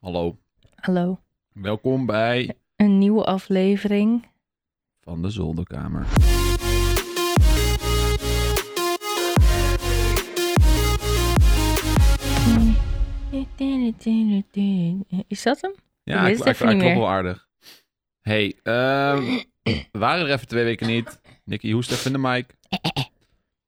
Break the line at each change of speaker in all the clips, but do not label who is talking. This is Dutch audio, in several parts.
Hallo,
Hallo.
welkom bij
Een nieuwe aflevering.
Van de Zolderkamer.
Is dat hem?
Ja,
Ik
ik
weet het
hij
even niet
klopt
meer.
wel aardig. hey, ehm, we waren er even twee weken niet. Nicky hoest even in de mic. We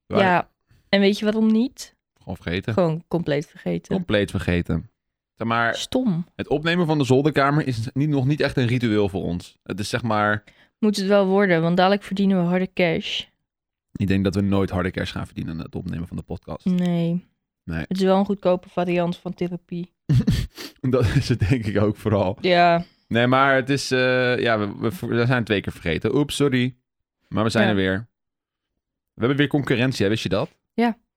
waren
Ja. En weet je waarom niet?
Gewoon vergeten.
Gewoon compleet vergeten.
Compleet vergeten. Zeg maar,
Stom.
het opnemen van de Zolderkamer is niet, nog niet echt een ritueel voor ons. Het is zeg maar,
Moet het wel worden, want dadelijk verdienen we harde cash.
ik denk dat we nooit harde cash gaan verdienen aan het opnemen van de podcast.
Mm. Nee.
Nee.
Het is wel een goedkope variant van therapie.
Dat is het denk ik ook vooral.
Ja.
Nee, maar het is, eh, ja, we, we, we zijn twee keer vergeten. Oeps, sorry. Maar we zijn
Ja.
er weer. We hebben weer concurrentie, hè? wist je dat?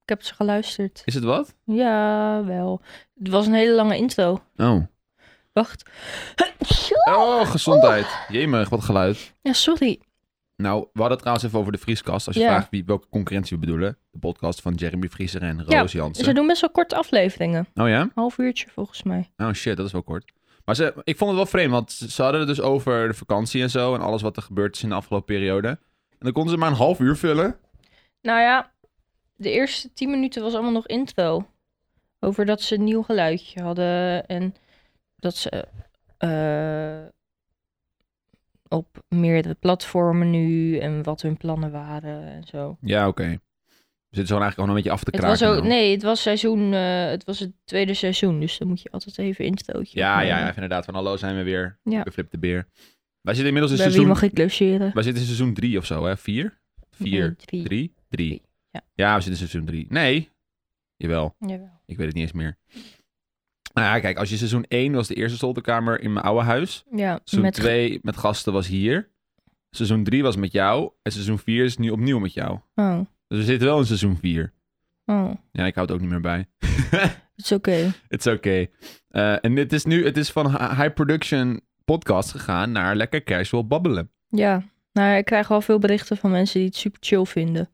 Ik heb ze geluisterd.
Is het wat?
Ja, wel. Het was een hele lange intro.
Oh.
Wacht.
Oh, gezondheid. Jemig, wat geluid.
Ja, sorry.
Nou, we hadden het trouwens even over de Vrieskast. Als je
Ja.
vraagt wie, welke concurrentie we bedoelen. De podcast van Jeremy Vriezer en
Ja,
Roos
Ze
Jansen.
doen best wel korte afleveringen.
Oh ja?
Half uurtje volgens mij.
Oh shit, dat is wel kort. Maar ze, ik vond het wel vreemd, want ze ze hadden het dus over de vakantie en zo. En alles wat er gebeurd is in de afgelopen periode. En dan konden ze maar een half uur vullen.
Nou ja, de eerste tien minuten was allemaal nog intro. Over dat ze een nieuw geluidje hadden en dat ze eh, op meerdere platformen nu en wat hun plannen waren en zo.
Ja, oké. We zitten zo eigenlijk gewoon een beetje af te
Het
kraken.
was ook,
nou.
nee, het was seizoen, eh, het was het tweede seizoen, dus dan moet je altijd even instootje.
Ja, ja,
opnemen.
ja, inderdaad. Van hallo zijn we weer.
Ja.
We flip de beer. Wij zitten inmiddels in
Bij wie
seizoen...
mag ik logeren?
Wij zitten in seizoen 3 of zo, hè? 4? 4,
Nee,
3,
drie.
3.
Drie, ja.
we zitten in seizoen 3. Nee. Jawel,
Jawel.
ik weet het niet eens meer. Nou ja, kijk, als je seizoen 1 was de eerste zolderkamer in mijn oude huis.
Ja,
Seizoen
met
2 met gasten was hier. Seizoen 3 was met jou. En seizoen 4 is nu opnieuw met jou.
Oh,
Dus we zitten wel in seizoen 4.
oh,
Ja, ik hou het ook niet meer bij.
het is oké.
It's okay. Eh, en dit is nu, het is van hi- high production podcast gegaan naar lekker casual babbelen.
Ja, nou ja, ik krijg wel veel berichten van mensen die het super chill vinden.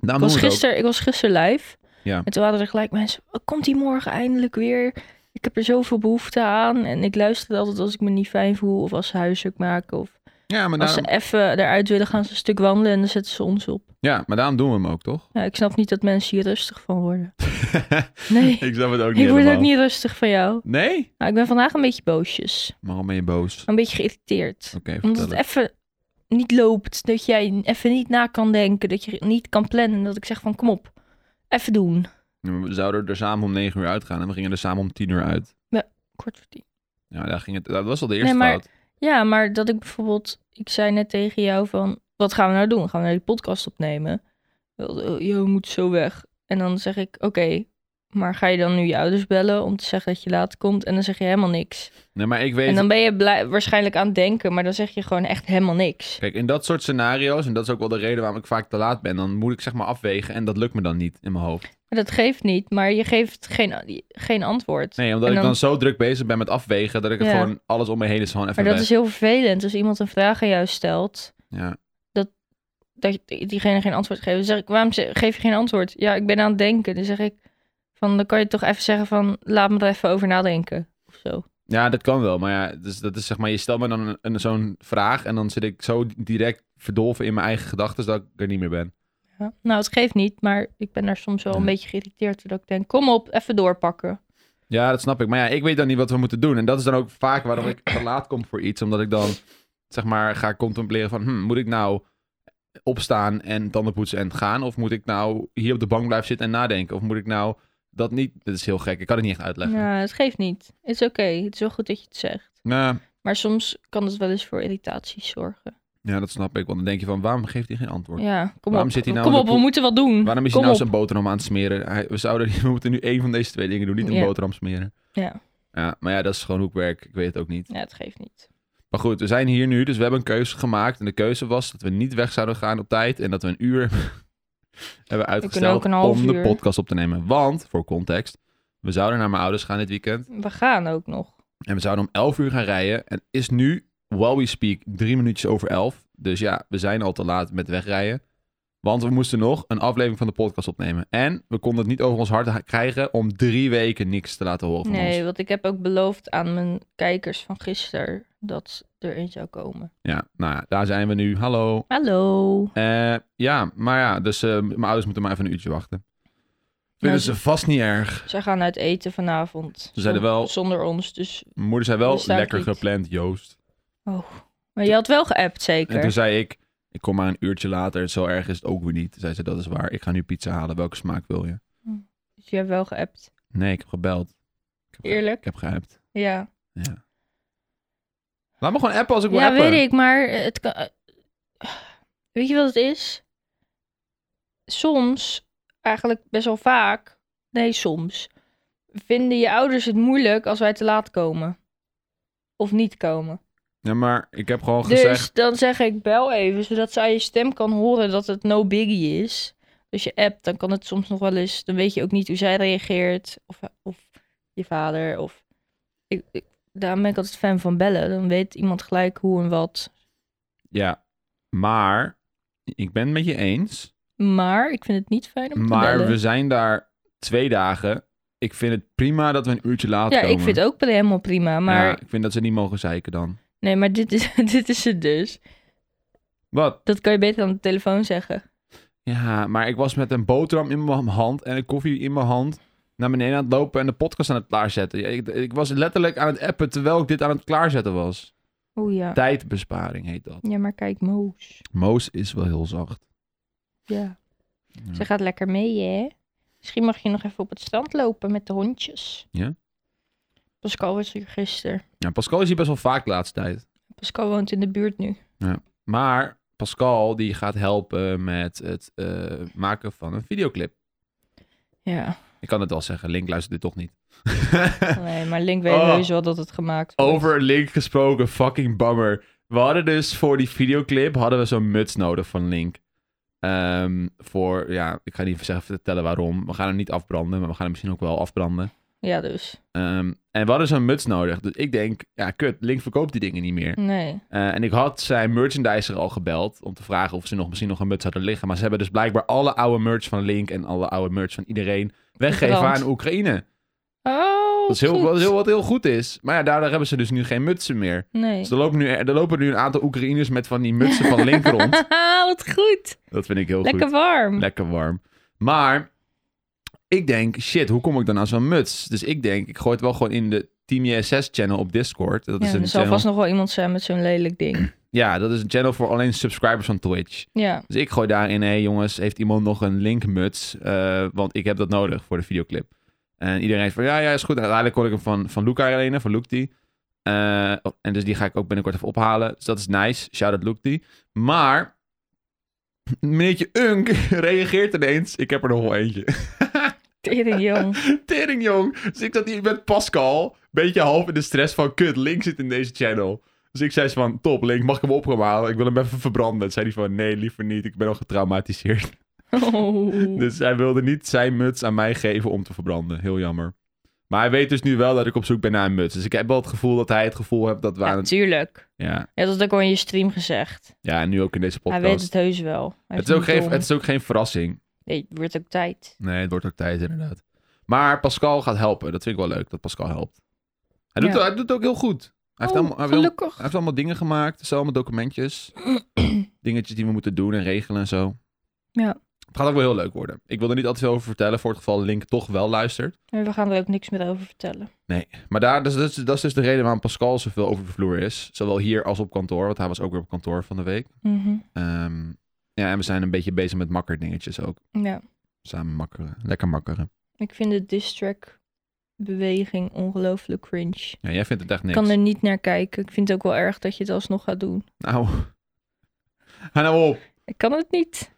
Daarom doen
Ik was,
we het
gister, ik was gisteren live.
Ja.
En toen hadden er gelijk mensen. "Oh, Komt die morgen eindelijk weer? Ik heb er zoveel behoefte aan. En ik luister altijd als ik me niet fijn voel. Of als ze huiswerk maken. Of
ook. Ja, maar
als
daarom,
ze even eruit willen, gaan ze een stuk wandelen. En dan zetten ze ons op.
ja, maar daarom doen we hem ook, toch?
Ja, ik snap niet dat mensen hier rustig van worden. Nee,
ik snap het ook niet
ik word
helemaal.
ook niet rustig van jou.
Nee?
Nou, ik ben vandaag een beetje boosjes.
Waarom ben je boos? Oké,
Een beetje geïrriteerd. Omdat
vertel
het
het.
even niet loopt. Dat jij even niet na kan denken. Dat je niet kan plannen. Dat ik zeg van kom op. Even doen.
We zouden er samen om 9 uur uitgaan en we gingen er samen om 10 uur uit.
Kort voor tien.
Ja, daar ging het, dat was al de eerste
Nee, maar-
fout.
Ja, maar dat ik bijvoorbeeld, ik zei net tegen jou van, wat gaan we nou doen? Gaan we nou die podcast opnemen? Wel, eh, Je moet zo weg. En dan zeg ik, oké, maar ga je dan nu je ouders bellen om te zeggen dat je laat komt? En dan zeg je helemaal niks.
Nee, maar ik weet...
En dan ben je blij, waarschijnlijk aan het denken, maar dan zeg je gewoon echt helemaal niks.
Kijk, in dat soort scenario's, en dat is ook wel de reden waarom ik vaak te laat ben, dan moet ik zeg maar afwegen en dat lukt me dan niet in mijn hoofd.
Maar dat geeft niet, maar je geeft geen, geen antwoord.
Nee, omdat
En
ik
dan-
dan zo druk bezig ben met afwegen dat ik het
Ja.
gewoon alles om me heen is gewoon even
maar dat
weg.
is heel vervelend. Als iemand een vraag aan jou stelt,
Ja.
dat diegene geen antwoord geeft. Dan zeg ik, waarom ze- geef je geen antwoord? Ja, ik ben aan het denken. Dan zeg ik, van, dan kan je toch even zeggen van, laat me er even over nadenken. Of zo.
Ja, dat kan wel. Maar ja, dus dat is zeg maar, je stelt me dan een, een- zo'n vraag en dan zit ik zo direct verdolven in mijn eigen gedachten dat ik er niet meer ben.
Ja. Nou, het geeft niet, maar ik ben daar soms wel een
Ja.
beetje geïrriteerd. doordat ik denk, kom op, even doorpakken.
Ja, dat snap ik. Maar ja, ik weet dan niet wat we moeten doen. En dat is dan ook vaak waarom ik te laat kom voor iets. Omdat ik dan, zeg maar, ga contempleren van, hm, moet ik nou opstaan en tanden poetsen en gaan? Of moet ik nou hier op de bank blijven zitten en nadenken? Of moet ik nou dat niet... Dat is heel gek. Ik kan het niet echt uitleggen.
Ja, het geeft niet. Het is oké. Het is wel goed dat je het zegt.
Nou,
Maar soms kan het wel eens voor irritaties zorgen.
ja, dat snap ik. Want dan denk je van, waarom geeft hij geen antwoord?
Ja, kom
Waarom
op.
zit hij nou
kom
in de
op, we
poel?
moeten wat doen.
Waarom is
Hm, kom
hij nou
op.
zijn boterham aan het smeren? Hij- we, zouden, we moeten nu één van deze twee dingen doen, niet een
Ja.
boterham smeren.
Ja.
ja. Maar ja, dat is gewoon hoe ik werk. Ik weet het ook niet.
Ja, het geeft niet.
Maar goed, we zijn hier nu, dus we hebben een keuze gemaakt. En de keuze was dat we niet weg zouden gaan op tijd. En dat we een uur hebben
ook
uitgesteld
een half
om de
uur.
podcast op te nemen. Want, voor context, we zouden naar mijn ouders gaan dit weekend.
We gaan ook nog.
En we zouden om 11 uur gaan rijden. En het is nu, while we speak, drie minuutjes over elf. Dus ja, we zijn al te laat met wegrijden. Want we moesten nog een aflevering van de podcast opnemen. En we konden het niet over ons hart ha- krijgen om drie weken niks te laten horen van
Nee,
ons.
want ik heb ook beloofd aan mijn kijkers van gisteren dat er een zou komen.
Ja, nou ja, daar zijn we nu. Hallo.
Hallo.
Eh, ja, maar ja, dus eh, mijn ouders moeten maar even een uurtje wachten. Vinden
Nou,
ze vast niet erg.
Zij gaan uit eten vanavond.
Ze zeiden
Zon-
wel-
Zonder ons, dus...
Mijn moeder zei wel,
Dus daar
lekker
niet.
gepland, Joost.
Oh. Maar je had wel geappt,
En toen
zeker?
zei ik, ik kom maar een uurtje later. Zo erg is het ook weer niet. Toen Zei ze, dat is waar. Ik ga nu pizza halen. Welke smaak wil je?
Dus je hebt wel geappt.
Nee, ik heb gebeld. Ik heb ge-
Eerlijk?
Ik heb geappt.
Ja.
Ja. Laat me gewoon appen als ik wil
Ja,
appen.
weet ik, maar het kan... eh, Weet je wat het is? Soms, eigenlijk best wel vaak... Nee, soms. Vinden je ouders het moeilijk als wij te laat komen. Of niet komen.
Ja, maar ik heb gewoon
Dus
gezegd...
dan zeg ik bel even, zodat ze aan je stem kan horen dat het no biggie is. Als je appt, dan kan het soms nog wel eens... Dan weet je ook niet hoe zij reageert. Of, of je vader. Of, ik, ik- daarom ben ik altijd fan van bellen. Dan weet iemand gelijk hoe en wat.
Ja, maar ik ben het met je eens.
Maar ik vind het niet fijn om te
Maar
bellen.
we zijn daar twee dagen. Ik vind het prima dat we een uurtje later
ja,
komen.
ik vind het ook helemaal prima. Maar,
Ja, ik vind dat ze niet mogen zeiken dan.
nee, maar dit is, dit is het dus.
Wat?
Dat kan je beter aan de telefoon zeggen.
Ja, maar ik was met een boterham in mijn hand en een koffie in mijn hand naar beneden aan het lopen en de podcast aan het klaarzetten. Ja, Ik, ik was letterlijk aan het appen terwijl ik dit aan het klaarzetten was.
Oh ja.
Tijdbesparing heet dat.
Ja, maar kijk, Moes.
Moos is wel heel zacht.
Ja.
Ja.
Ze gaat lekker mee, hè? Misschien mag je nog even op het strand lopen met de hondjes.
Ja.
Pascal was hier gisteren.
Ja, Pascal is hier best wel vaak de laatste tijd.
Pascal woont in de buurt nu.
Maar Pascal die gaat helpen met het eh, maken van een videoclip.
Ja.
Ik kan het wel zeggen, Link luistert dit toch niet.
Nee, maar Link weet
Oh.
heus wel dat het gemaakt wordt.
Over Link gesproken, fucking bummer. We hadden dus voor die videoclip hadden we zo'n muts nodig van Link. Ehm, voor, ja, ik ga niet zeggen vertellen waarom. We gaan hem niet afbranden, maar we gaan hem misschien ook wel afbranden.
Ja, dus.
Ehm, en we hadden zo'n muts nodig. Dus ik denk, ja, kut, Link verkoopt die dingen niet meer.
Nee.
Eh, en ik had zijn merchandiser al gebeld om te vragen of ze nog misschien nog een muts hadden liggen. Maar ze hebben dus blijkbaar alle oude merch van Link en alle oude merch van iedereen weggegeven
Verbrand.
aan Oekraïne.
Oh,
Dat is heel,
goed.
wat heel, wat heel goed is. Maar ja, daardoor hebben ze dus nu geen mutsen meer.
Nee.
Dus er lopen nu, er lopen nu een aantal Oekraïners met van die mutsen van Link rond.
Oh, wat goed.
Dat vind ik heel
Lekker
goed.
warm.
Lekker warm. Maar ik denk, shit, hoe kom ik dan aan zo'n muts? Dus ik denk, ik gooi het wel gewoon in de Team JSS-channel op Discord. Dat is
ja,
een
er zal
channel...
vast nog wel iemand zijn met zo'n lelijk ding.
Ja, dat is een channel voor alleen subscribers van Twitch.
Ja.
Dus ik gooi daarin, hé hey jongens, heeft iemand nog een linkmuts? Eh, want ik heb dat nodig voor de videoclip. En iedereen is van, ja, ja, is goed. En uiteindelijk kon ik hem van, van Luca alleen, hè, van Lukti. Eh, oh, en dus die ga ik ook binnenkort even ophalen. Dus dat is nice. Shout-out Lukti. Maar, meneertje Unk reageert ineens, ik heb er nog wel eentje.
Tering jong.
Tering jong. Dus ik zat hier met Pascal, beetje half in de stress van, kut, Link zit in deze channel. Dus ik zei ze van, top Link, mag ik hem op gaan halen? Ik wil hem even verbranden. Toen zei hij van, nee, liever niet. Ik ben al getraumatiseerd.
Oh.
Dus hij wilde niet zijn muts aan mij geven om te verbranden. Heel jammer. Maar hij weet dus nu wel dat ik op zoek ben naar een muts. Dus ik heb wel het gevoel dat hij het gevoel heeft dat we aan het...
Natuurlijk.
Ja,
Je had het ook al in je stream gezegd.
ja en nu ook in deze podcast.
Hij weet het heus wel. Hij
het, is ook
niet
geen,
dom.
het is ook geen verrassing.
Nee, het wordt ook tijd.
Nee, het wordt ook tijd inderdaad. Maar Pascal gaat helpen. Dat vind ik wel leuk, dat Pascal helpt. Hij doet,
Ja.
hij doet het ook heel goed. Hij, heeft
Oh,
allemaal, hij, heeft allemaal-
gelukkig.
hij heeft allemaal dingen gemaakt. Er zijn allemaal documentjes. dingetjes die we moeten doen en regelen en zo.
Ja.
Het gaat ook wel heel leuk worden. Ik wil er niet altijd veel over vertellen. Voor het geval Link toch wel luistert.
En we gaan er ook niks meer over vertellen.
Maar daar, dus, dat, is, dat is dus de reden waarom Pascal zoveel over de vloer is. Zowel hier als op kantoor, want hij was ook weer op kantoor van de week.
Mhm.
Ehm, ja, en we zijn een beetje bezig met makkerdingetjes ook.
Ja,
Samen makkeren. Lekker makkeren.
ik vind de distrack beweging ongelooflijk cringe.
Ja, jij vindt het echt
Ik
niks.
kan er niet naar kijken. Ik vind het ook wel erg dat je het alsnog gaat doen.
Nou, ga nou op.
Ik kan het niet.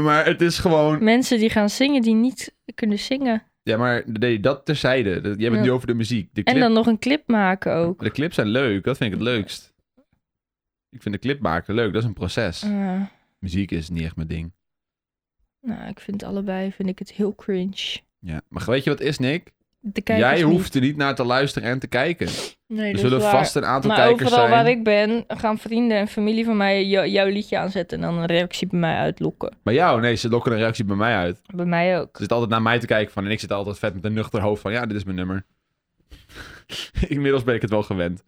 Maar het is gewoon...
Mensen die gaan zingen die niet kunnen zingen.
Ja, maar nee, dat terzijde. Dat- Je hebt het nu
Ja.
over de muziek. De,
En
clip,
dan nog een clip maken ook.
de clips zijn leuk. Dat vind ik het leukst. Ik vind de clip maken leuk. Dat is een proces.
Ah,
Muziek is niet echt mijn ding.
nou, ik vind allebei vind ik het heel cringe.
Ja. Maar weet je wat is, Nick?
de kijkers
Jij
niet.
hoeft er niet naar te luisteren en te kijken.
Nee,
Er
dat is
zullen
waar.
vast een aantal
Maar
kijkers
overal
zijn.
waar ik ben, gaan vrienden en familie van mij jou- jouw liedje aanzetten en dan een reactie bij mij uitlokken.
Maar jou, nee, ze lokken een reactie bij mij uit.
Bij mij ook.
Ze zit altijd naar mij te kijken van... En ik zit altijd vet met een nuchter hoofd van... Ja, dit is mijn nummer. Inmiddels ben ik het wel gewend.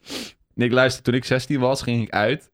En ik luister, toen ik 16 was, ging ik uit.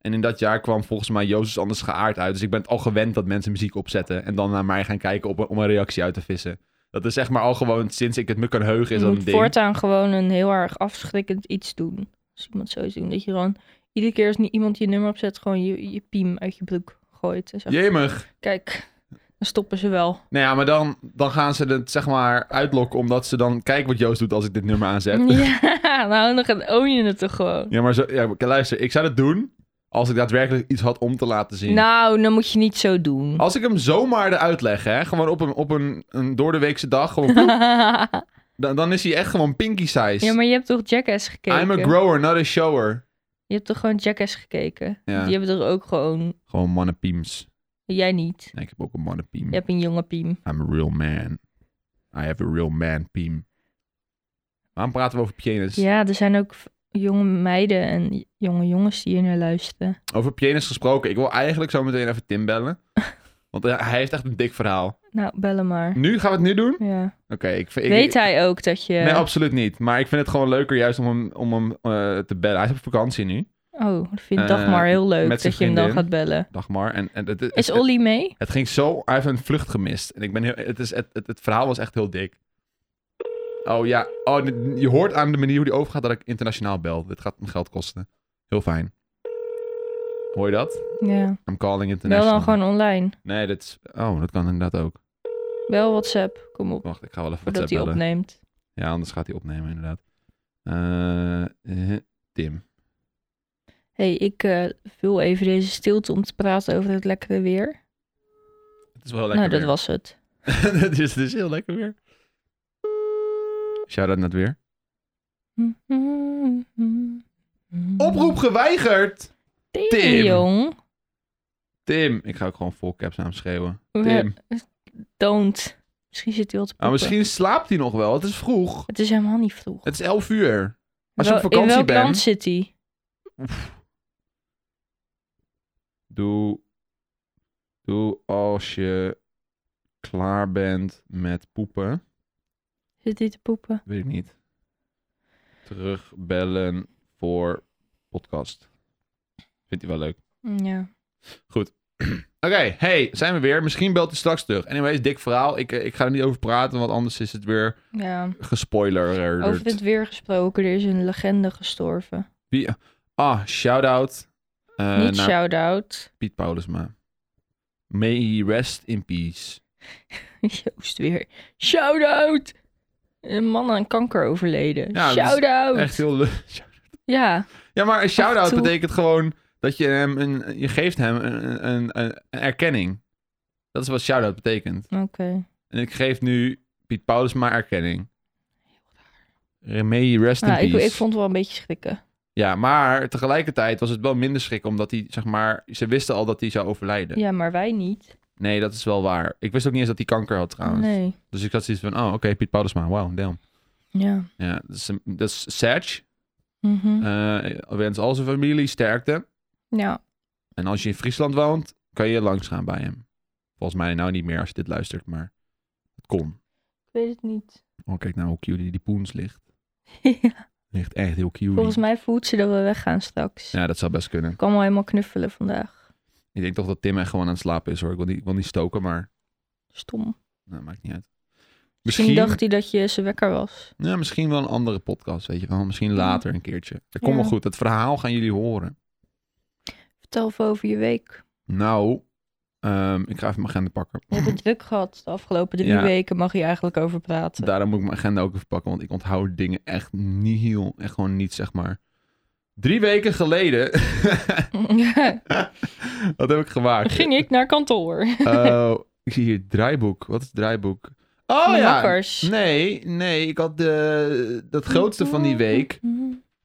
En in dat jaar kwam volgens mij Jozus Anders Geaard uit. Dus ik ben het al gewend dat mensen muziek opzetten... en dan naar mij gaan kijken op, om een reactie uit te vissen. Dat is zeg maar al gewoon, sinds ik het me kan heugen, is
je
dat
moet
een ding.
voortaan gewoon een heel erg afschrikkend iets doen. Als iemand zoiets doet, dat je gewoon iedere keer als niet iemand je nummer opzet, gewoon je, je piem uit je broek gooit. En zegt,
Jemig.
kijk, dan stoppen ze wel.
Nou ja, maar dan, dan gaan ze het zeg maar uitlokken... omdat ze dan... Kijk wat Joost doet als ik dit nummer aanzet.
Ja, nou dan gaat own je het toch gewoon.
Ja, maar zo, ja, maar luister, ik zou dat doen als ik daadwerkelijk iets had om te laten zien.
Nou, dan moet je niet zo doen.
Als ik hem zomaar eruit leg, hè, gewoon op een, op een, een door de weekse dag, gewoon, ploep, dan, dan is hij echt gewoon pinky size.
ja, maar je hebt toch Jackass gekeken?
I'm a grower, not a shower.
je hebt toch gewoon Jackass gekeken?
Ja.
Die hebben er ook gewoon...
Gewoon mannenpiems.
Jij niet.
Nee, ik heb ook een mannenpiem.
Je hebt een jonge piem.
I'm a real man. I have a real man piem. Waarom praten we over penis?
Ja, er zijn ook v- jonge meiden en jonge jongens die hier naar luisteren.
Over penis gesproken, ik wil eigenlijk zo meteen even Tim bellen. Want eh, hij heeft echt een dik verhaal.
Nou, bellen maar.
Nu, gaan we het nu doen? Oké,
Ja.
ik vind... ik-
Weet hij ook dat je...
Nee, absoluut niet. Maar ik vind het gewoon leuker juist om hem, om hem eh, te bellen. Hij is op vakantie nu,
Oh, dat vindt
Eh,
Dagmar heel leuk
met
dat je
zijn
hem dan
vriendin.
gaat bellen.
Dagmar. En, en het, het,
Is
het-
Olly mee?
het ging zo... Hij heeft een vlucht gemist. En ik ben heel... Het, is, het, het, het verhaal was echt heel dik. Oh ja. Oh, dit- je hoort aan de manier hoe die overgaat dat ik internationaal bel. Dit gaat me geld kosten. Heel fijn. Hoor je dat?
Ja.
I'm calling
Bel
international.
dan gewoon online.
Nee, dat is... Oh, dat kan inderdaad ook.
Bel WhatsApp. Kom op.
Wacht, ik ga wel even
Voordat
WhatsApp
hij
bellen.
opneemt.
Ja, anders gaat hij opnemen inderdaad. Eh, eh, Tim.
hey, ik eh, vul even deze stilte om te praten over het lekkere weer.
Het is wel lekker
nou, dat
weer.
was het.
Het is, het is heel lekker weer. Shout-out naar het weer. Oproep geweigerd!
Tim,
Tim.
jong.
Tim, ik ga ook gewoon vol caps aan hem schreeuwen.
We-
Tim.
Don't. Misschien zit hij wel te
Ah,
poepen.
misschien slaapt hij nog wel. Het is vroeg.
Het is helemaal niet vroeg.
Het is 11 uur. Als je
Wel-
op vakantie
In welk
bent-
land zit hij?
Doe, doe als je klaar bent met poepen.
Zit hij te poepen?
Weet ik niet. Terugbellen voor podcast. Vindt hij wel leuk.
Mm, Ja.
Oké, hey, zijn we weer. Misschien belt hij straks terug. Anyways, dik verhaal. Ik, eh, ik ga er niet over praten, want anders is het weer
ja.
gespoilerd.
Over het weer gesproken, er is een legende gestorven.
Wie- Ah, shout-out eh,
niet
naar
shout-out.
Piet Paulusma. May he rest in peace.
Joost weer. Shout-out! Een man aan kanker overleden.
Ja, dat is
shout-out!
Echt heel leuk.
Ja.
Ja, maar een
Af
shout-out
en toe.
betekent gewoon dat je hem een, je geeft hem een, een, een, een erkenning. Dat is wat shout-out betekent.
Oké.
En ik geef nu Piet Paulusma erkenning. May he rest in
Nou, ik,
peace.
ik vond het wel een beetje schrikken.
Ja, maar tegelijkertijd was het wel minder schrik, omdat hij, zeg maar, ze wisten al dat hij zou overlijden.
Ja, maar wij niet.
Nee, dat is wel waar. Ik wist ook niet eens dat hij kanker had trouwens.
Nee.
Dus ik had zoiets van, oh, oké, Piet Paulusma, wow, damn.
Ja.
Ja, dat is, dat is Serge.
Mhm.
Eh, wens al zijn familie sterkte.
Ja.
En als je in Friesland woont, kan je langs gaan bij hem. Volgens mij nou niet meer als je dit luistert, maar het kon.
Ik weet het niet.
Oh, kijk nou hoe cute die, die poens ligt. Hmm.
Ja.
Ligt echt heel cute.
Volgens mij voelt ze dat we weggaan straks.
Ja, dat zou best kunnen.
Ik kan wel helemaal knuffelen vandaag.
Ik denk toch dat Tim echt gewoon aan het slapen is hoor. Ik wil niet, wil niet stoken, maar
Stom. Misschien,
nou, maakt niet uit.
dacht hij dat je zijn wekker was.
Ja, misschien wel een andere podcast, weet je wel. Misschien later een keertje. Dat komt
Ja.
wel goed. Het verhaal gaan jullie horen.
Vertel even over je week.
Nou, ehm, ik ga even mijn agenda pakken.
We hebben druk gehad de afgelopen drie
Ja.
weken. Mag je eigenlijk over praten?
Daarom moet ik mijn agenda ook even pakken, want ik onthoud dingen echt niet heel... Echt gewoon niet, zeg maar. Drie weken geleden... Wat heb ik gemaakt?
Ging ik naar kantoor.
Oh, ik zie hier draaiboek. Wat is draaiboek? Oh
Mijn
ja.
makkers.
Nee, nee. Ik had de... Dat grootste van die week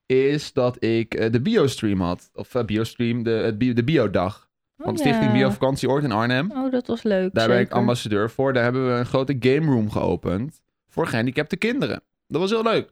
is dat ik eh, de biostream had. Of eh, biostream, de, het bio, de biodag. Van de Stichting Bio Vakantieoord in Arnhem.
Oh, dat was leuk.
Daar ben ik
zeker.
ambassadeur voor. Daar hebben we een grote game room geopend. voor gehandicapte kinderen. Dat was heel leuk.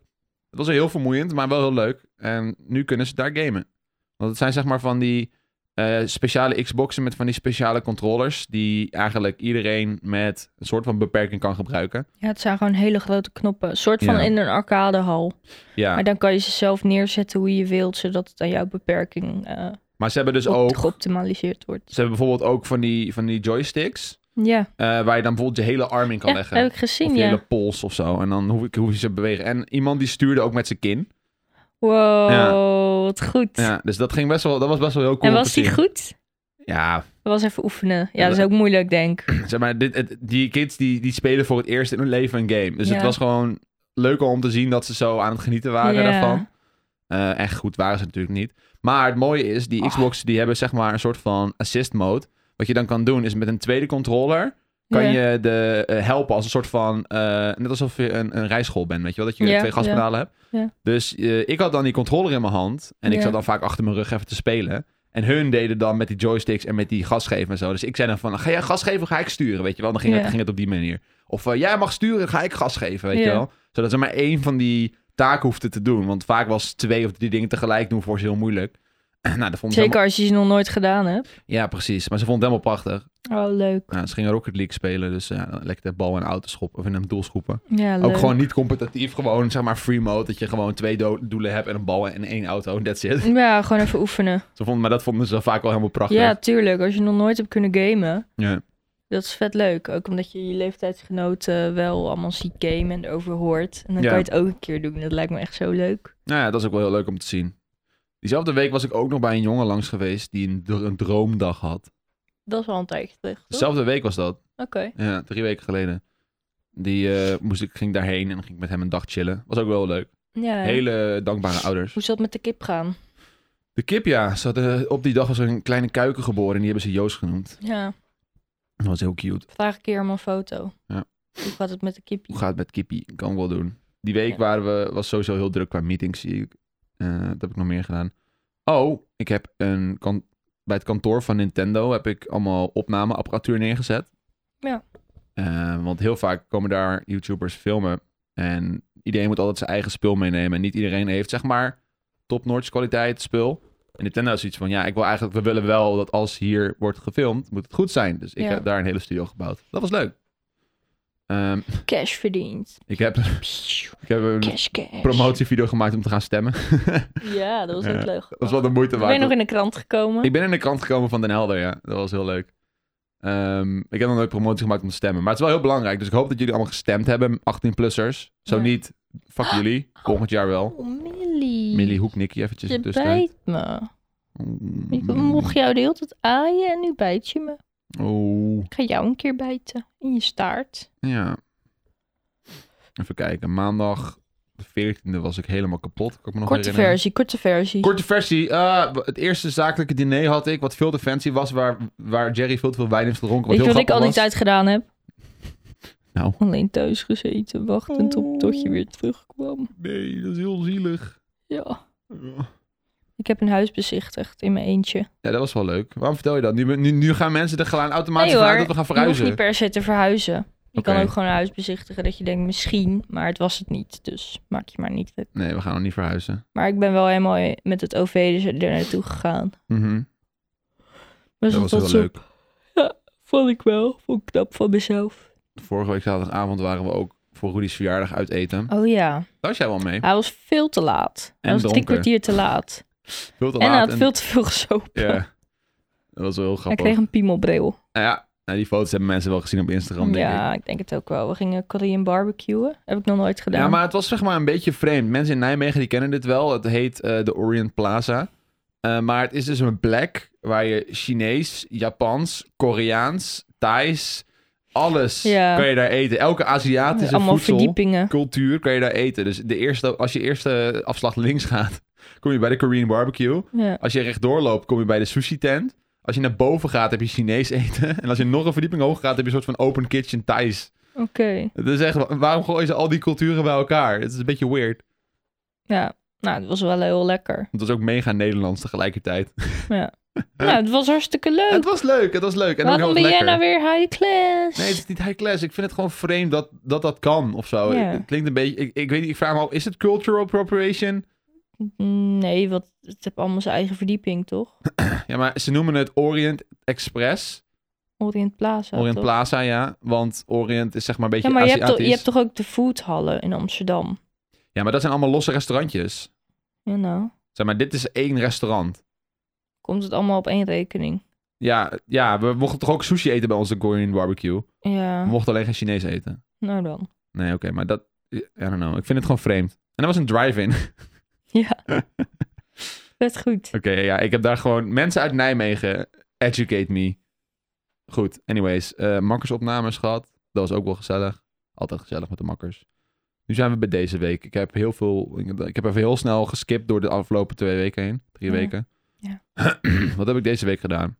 Dat was heel vermoeiend, maar wel heel leuk. En nu kunnen ze daar gamen. Want het zijn zeg maar van die eh, speciale Xboxen met van die speciale controllers. Die eigenlijk iedereen met een soort van beperking kan gebruiken.
Ja, het zijn gewoon hele grote knoppen. Een soort van
Ja.
in een arcadehal.
Ja,
Maar dan kan je ze zelf neerzetten hoe je wilt, zodat het aan jouw beperking eh,
maar ze hebben dus
op-
ook.
geoptimaliseerd wordt.
Ze hebben bijvoorbeeld ook van die, van die joysticks.
Ja,
eh, waar je dan bijvoorbeeld je hele arm in kan
ja
leggen.
heb ik
of
gezien,
je
ja.
hele pols of zo. En dan hoef ik, hoef je ze te bewegen. En iemand die stuurde ook met zijn kin.
Wow,
Ja.
wat goed.
Ja, dus dat ging best wel. Dat was best wel heel cool.
en
om
was
te
die
zien.
goed?
Ja,
Dat was even oefenen. Ja,
Ja,
dat is ook moeilijk, denk ik.
zeg maar, dit, het- die kids die, die spelen voor het eerst in hun leven een game. Dus
Ja.
het was gewoon leuk om te zien dat ze zo aan het genieten waren
Ja.
daarvan. Eh, echt goed waren ze natuurlijk niet. Maar het mooie is, die
Oh.
Xbox die hebben zeg maar een soort van assist mode. Wat je dan kan doen is met een tweede controller kan
Ja.
je de eh, helpen als een soort van, eh, net alsof je een, een rijschool bent, weet je wel, dat je
Ja,
twee gaspedalen hebt.
Ja.
Dus eh, ik had dan die controller in mijn hand en ik
Ja.
zat dan vaak achter mijn rug even te spelen. En hun deden dan met die joysticks en met die gas geven en zo. Dus ik zei dan van, ga jij gas geven of ga ik sturen, weet je wel. Dan ging, het,
Ja.
ging het op die manier. Of eh, jij mag sturen, ga ik gas geven, weet
Ja.
je wel. Zodat ze maar één van die taken hoefden te doen. Want vaak was twee of drie dingen tegelijk doen voor ze heel moeilijk. nou, dat vonden ze
Zeker als je ze nog nooit gedaan hebt.
helemaal- Ja, precies. Maar ze vonden het helemaal prachtig.
Oh, leuk.
Nou, ze gingen Rocket League spelen, dus ja, dan lekker de bal in de auto schoppen of in een doel schoppen.
Ja, leuk.
Ook gewoon niet competitief, gewoon zeg maar free mode. Dat je gewoon twee do- doelen hebt en een bal en één auto en that's it. Ze
Ja, gewoon even oefenen.
vonden, maar dat vonden ze vaak wel helemaal prachtig.
Ja, tuurlijk. Als je nog nooit hebt kunnen gamen,
Ja.
dat is vet leuk. Ook omdat je je leeftijdsgenoten wel allemaal ziet gamen en erover hoort. En dan
Ja.
kan je het ook een keer doen. Dat lijkt me echt zo leuk.
Nou ja, dat is ook wel heel leuk om te zien. Diezelfde week was ik ook nog bij een jongen langs geweest die een, dr- een droomdag had.
Oh. Dat is wel een tijdje terug, toch?
Dezelfde week was dat.
Oké.
Ja, drie weken geleden. Die eh, moest ik, ging daarheen en dan ging ik met hem een dag chillen. Was ook wel leuk.
Ja.
Hele dankbare ouders.
Hoe zal het met de kip gaan?
De kip, ja. Ze hadden- op die dag was er een kleine kuiken geboren en die hebben ze Joost genoemd.
Ja,
Dat was heel cute.
vraag een keer om een foto.
Ja.
Hoe gaat het met de kippie?
Hoe gaat het met Kippie? Kan ik wel doen. Die week
Ja.
waren we, was sowieso heel druk qua meetings, zie ik. Eh, dat heb ik nog meer gedaan. Oh, ik heb een kan- bij het kantoor van Nintendo heb ik allemaal opnameapparatuur neergezet.
Ja.
Eh, want heel vaak komen daar YouTubers filmen. En iedereen moet altijd zijn eigen spul meenemen. En niet iedereen heeft, zeg maar, top-notch kwaliteit spul. En Nintendo is iets van, ja, ik wil eigenlijk, we willen wel dat als hier wordt gefilmd, moet het goed zijn. Dus ik
Ja.
heb daar een hele studio gebouwd. Dat was leuk. Ehm,
Cash verdiend.
ik heb ik heb een
Cash, cash.
promotievideo gemaakt om te gaan stemmen.
Ja, dat was ook
Ja,
leuk.
dat was wel de moeite
Ben je
waard.
nog in de krant gekomen?
Ik ben in de krant gekomen van Den Helder, ja. Dat was heel leuk. Ehm, ik heb nog nooit promotie gemaakt om te stemmen. Maar het is wel heel belangrijk. Dus ik hoop dat jullie allemaal gestemd hebben, 18-plussers. Zo
Ja.
niet, fuck jullie. Volgend jaar wel.
Oh, Millie.
Millie Hoek, Nicky, eventjes
Je
ertussen.
bijt me. Ik
Mm.
mocht jou de hele tijd aaien en nu bijt je me.
Oeh,
Ik ga jou een keer bijten. In je staart.
Oh, ja. Even kijken. Maandag de 14e was ik helemaal kapot. Kan ik eh, me nog
Korte
herinneren.
versie, korte versie.
Korte versie. eh, het eerste zakelijke diner had ik, wat veel te fancy was, waar, waar Jerry veel te veel wijn heeft gedronken. Wat
Weet je
heel
wat ik al die
grappig was.
tijd gedaan heb?
Nou.
Alleen thuis gezeten, wachtend op tot je weer terugkwam.
Nee, dat is heel zielig.
Ja.
Ja.
Ik heb een huis bezichtigd in mijn eentje.
Ja, dat was wel leuk. Waarom vertel je dat? Nu, nu, nu gaan mensen er gewoon automatisch
Nee,
vanuit
hoor.
dat we gaan
Je hoeft
verhuizen.
niet per se te verhuizen. Je
Oké.
kan ook gewoon een huis bezichtigen dat je denkt misschien, maar het was het niet. Dus maak je maar niet druk.
Nee, we gaan nog niet verhuizen.
Maar ik ben wel helemaal met het OV dus er naartoe gegaan.
Mhm.
Dus
Dat was wel leuk.
Vond ik wel. Vond ik knap van mezelf.
Vorige week zaterdagavond waren we ook voor Rudy's verjaardag uit eten.
Oh ja,
Daar was jij wel mee.
hij was veel te laat.
En
Hij was drie
dronken.
kwartier te laat.
Veel te
en hij
laat.
had veel te veel gezopen.
Ja. Dat was wel heel
hij
grappig.
kreeg een piemelbril.
Nou ja, nou, die foto's hebben mensen wel gezien op Instagram, denk ik.
Ja, ik. denk het ook wel. We gingen Korean barbecuen. Heb ik nog nooit gedaan.
Ja, maar het was zeg maar een beetje vreemd. Mensen in Nijmegen die kennen dit wel. Het heet eh, de Orient Plaza. Eh, maar het is dus een plek waar je Chinees, Japans, Koreaans, Thais, alles
Ja.
kan je daar eten. Elke Aziatische
Allemaal
voedselcultuur
verdiepingen.
kan je daar eten. Dus de eerste, als je eerste afslag links gaat, kom je bij de Korean barbecue.
Ja.
Als je rechtdoor loopt, kom je bij de sushi tent. Als je naar boven gaat, heb je Chinees eten. En als je nog een verdieping hoog gaat, heb je een soort van open kitchen Thais.
Oké.
Het is echt, waarom gooien ze al die culturen bij elkaar? Het is een beetje weird.
Ja, nou, het was wel heel lekker.
Het was ook mega Nederlands tegelijkertijd.
Ja. Nou, het was hartstikke leuk.
Het was leuk, het was leuk. En ook heel
Waarom ben jij
lekker.
nou weer high class?
Nee, het is niet high class. Ik vind het gewoon vreemd dat dat, dat kan of zo.
Ja.
Het klinkt een beetje... Ik, ik weet niet, ik vraag me al, is het cultural appropriation?
Nee, want het heeft allemaal zijn eigen verdieping, toch?
Ja, maar ze noemen het Orient Express.
Orient Plaza.
Orient
toch?
Plaza, ja. Want Orient is zeg maar een beetje
Ja, maar je hebt, toch,
Aziatisch.
je hebt toch ook de foodhallen in Amsterdam?
Ja, maar dat zijn allemaal losse restaurantjes.
Ja, nou.
Zeg maar, dit is één restaurant.
Komt het allemaal op één rekening?
Ja, ja, we mochten toch ook sushi eten bij onze Korean barbecue? We
Ja,
mochten alleen geen Chinees eten.
nou dan.
Nee, oké, maar dat... I don't know. Ik vind het gewoon vreemd. En dat was een drive-in. Oké,
Ja. Vet goed.
ja, ik heb daar gewoon... Mensen uit Nijmegen, educate me. Goed, anyways. eh makkersopnames gehad. Dat was ook wel gezellig. Altijd gezellig met de makkers. Nu zijn we bij deze week. Ik heb heel veel... Ik, ik heb even heel snel geskipt door de afgelopen twee weken heen. Drie
Ja.
weken.
Ja.
Wat heb ik deze week gedaan?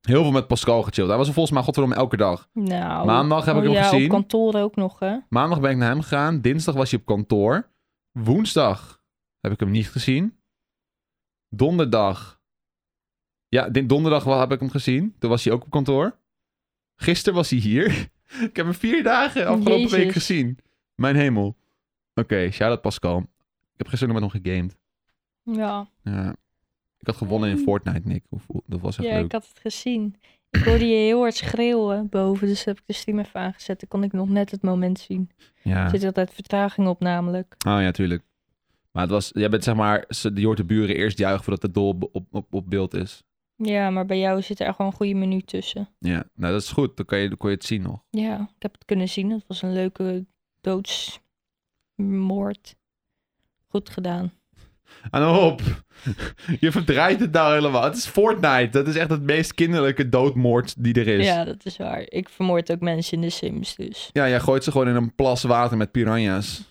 Heel veel met Pascal gechilled. Hij was er volgens mij godverdomme elke dag.
Nou.
Maandag heb ik hem
ja,
gezien.
op kantoor ook nog, hè?
Maandag ben ik naar hem gegaan. Dinsdag was hij op kantoor. Woensdag heb ik hem niet gezien. Donderdag. Ja, dit donderdag wel heb ik hem gezien. Toen was hij ook op kantoor. Gisteren was hij hier. ik heb hem vier dagen afgelopen
Jezus.
week gezien. Mijn hemel. Oké, shout-out Pascal. Ik heb gisteren nog met hem gegamed.
Ja.
Ja. Ik had gewonnen in
Mm.
Fortnite, Nick. Hoe voel- Dat was echt
Ja,
leuk.
ik had het gezien. Ik hoorde je heel hard schreeuwen boven, dus heb ik de stream even aangezet. Dan kon ik nog net het moment zien.
Ja.
Er zit altijd vertraging op namelijk.
Oh ja, tuurlijk. Maar het was... Jij bent zeg maar... ze- Je hoort de buren eerst juichen voordat de dol op, op, op beeld is.
Ja, maar bij jou zit er gewoon een goede menu tussen.
Ja, nou dat is goed. Dan, kan je, dan kon je het zien nog.
Ja, ik heb het kunnen zien. Het was een leuke doodsmoord. Goed gedaan.
En op! Je verdraait het nou helemaal. Het is Fortnite. Dat is echt het meest kinderlijke doodmoord die er is. Ja,
Ja, dat is waar. Ik vermoord ook mensen in de Sims, dus.
jij gooit ze gewoon in een plas water met piranha's.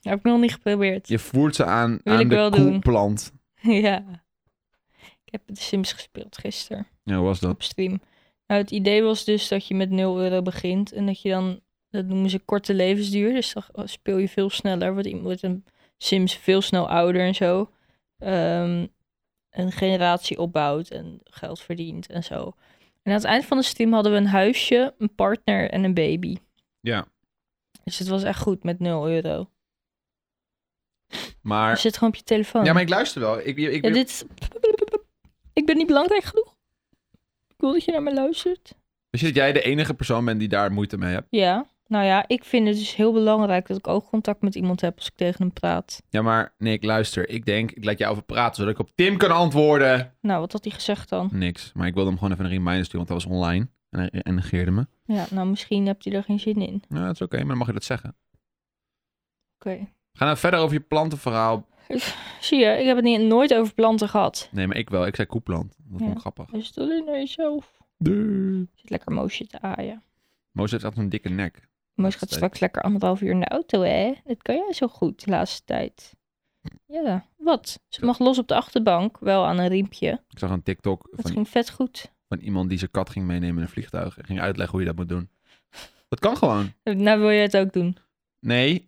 heb ik nog niet geprobeerd. Ja.
Je voert ze aan,
Wil
aan
ik
de
wel doen.
koeplant.
Ik heb de Sims gespeeld gisteren
Ja, hoe was dat?
op stream. Nou, het idee was dus dat je met 0 euro begint en dat je dan, dat noemen ze korte levensduur. Dus dan speel je veel sneller, want iemand wordt een Sims veel snel ouder en zo. Ehm, een generatie opbouwt en geld verdient en zo. En aan het eind van de stream hadden we een huisje, een partner en een baby.
Ja,
Dus het was echt goed met 0 euro. Je
maar...
zit gewoon op je telefoon.
Ja, maar ik luister wel. Ik, ik,
Ja, dit is- Ik ben niet belangrijk genoeg. Ik wil dat je naar me luistert.
Weet je dat jij de enige persoon bent die daar moeite mee hebt?
Ja, nou ja, ik vind het dus heel belangrijk dat ik ook contact met iemand heb als ik tegen hem praat.
Ja, maar Nick, luister. Ik denk, ik laat jou over praten, zodat ik op Tim kan antwoorden.
Nou, wat had hij gezegd dan?
Niks. Maar ik wilde hem gewoon even een reminder sturen, want hij was online. En hij en negeerde me.
Ja, nou, misschien heb hij er geen zin in.
Nou, dat is oké, maar dan mag je dat zeggen.
Oké.
Ga nou verder over je plantenverhaal.
Zie je, ik heb het niet, nooit over planten gehad.
Nee, maar ik wel. Ik zei koeplant. Dat vond ik
Ja.
grappig.
Dus doe dit naar jezelf.
Duh.
Zit lekker Moosje te aaien.
Moos heeft altijd een dikke nek.
Moos gaat straks lekker anderhalf uur in de auto, hè? Dat kan jij zo goed de laatste tijd. Ja, wat? Ze mag los op de achterbank, wel aan een riempje.
Ik zag een TikTok
Dat
van,
ging vet goed.
van iemand die zijn kat ging meenemen in een vliegtuig. En ging uitleggen hoe je dat moet doen. Dat kan gewoon.
Nou wil je het ook doen.
Nee.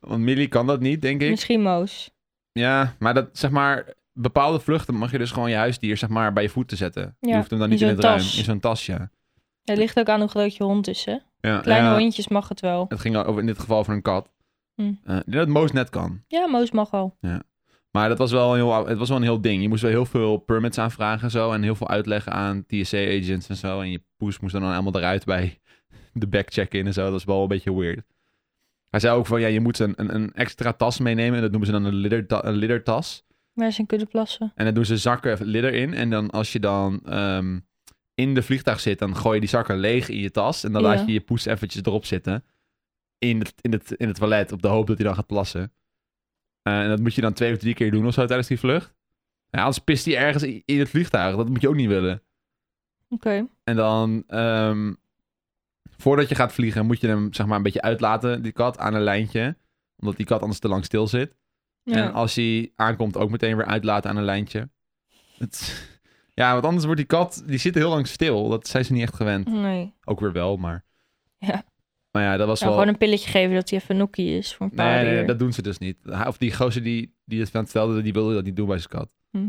Want Millie kan dat niet, denk ik.
Misschien Moos.
Ja, maar dat zeg maar... Bepaalde vluchten mag je dus gewoon je huisdier zeg maar bij je voeten zetten. je
Ja,
hoeft hem dan
in
niet in,
zo'n
het ruim.
tas.
In zo'n tas, ja.
Het ligt ook aan hoe groot je hond is, hè?
ja
Kleine
ja.
hondjes mag het wel.
Het ging over, in dit geval over een kat.
Hm.
Eh, ik denk dat Moos net kan.
Ja, Moos mag al.
Maar dat was wel een heel, het was wel een heel ding. Je moest wel heel veel permits aanvragen en zo. En heel veel uitleggen aan TSA-agents en zo. En je poes moest dan helemaal eruit bij de backcheck-in en zo. Dat was wel een beetje weird. Hij zei ook van, ja, je moet een, een, een extra tas meenemen. En dat noemen ze dan een, lidderta- een liddertas.
Waar ze in kunnen plassen.
En dan doen ze zakken lidder in. En dan als je dan ehm, in de vliegtuig zit, dan gooi je die zakken leeg in je tas. En dan
Ja.
laat je je poes eventjes erop zitten. In het, in, het, in het toilet, op de hoop dat hij dan gaat plassen. Eh, en dat moet je dan twee of drie keer doen of zo tijdens die vlucht. Ja, anders pist hij ergens i- in het vliegtuig. Dat moet je ook niet willen.
Oké.
En dan, ehm, voordat je gaat vliegen, moet je hem zeg maar een beetje uitlaten, die kat, aan een lijntje. Omdat die kat anders te lang stil zit. En
Ja.
als hij aankomt, ook meteen weer uitlaten aan een lijntje. Het, ja, want anders wordt die kat, die zit heel lang stil. Dat zijn ze niet echt gewend.
Nee. Nou,
Ook weer wel, maar.
Ja.
Maar ja, dat was wel.
Gewoon een pilletje geven dat hij even nokkie is voor een paar
Nee, nee,
uur.
dat doen ze dus niet. Hij- Of die gozer die, die het van stelde, die wilde dat niet doen bij zijn kat.
Hm.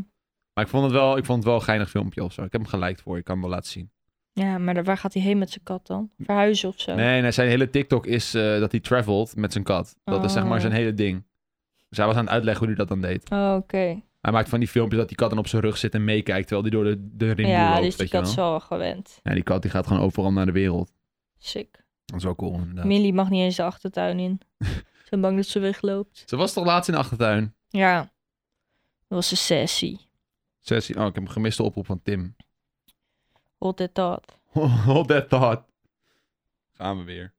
Maar ik vond het wel, ik vond het wel een geinig filmpje of zo. Ik heb hem geliked voor, ik kan hem wel laten zien.
Ja, maar daar- waar gaat hij heen met zijn kat dan? Verhuizen of zo?
Nee, nee, zijn hele TikTok is eh, dat hij travelt met zijn kat. Dat is zeg maar
Oh.
zijn hele ding. Dus hij was aan het uitleggen hoe hij dat dan deed.
Oh, Oké.
Hij maakt van die filmpjes dat die kat dan op zijn rug zit en meekijkt terwijl die door de, de rimboel
Ja,
loopt.
dus die
weet je
kat is
wel.
al gewend.
Ja, die kat die gaat gewoon overal naar de wereld.
Sick.
Dat is wel cool inderdaad.
Millie mag niet eens de achtertuin in. Ik ben bang dat ze wegloopt.
Ze was toch laatst in de achtertuin?
Ja. Dat was een sessie.
Sessie. Oh, ik heb een gemiste oproep van Tim.
Hold that thought.
Hold that thought. Gaan we weer.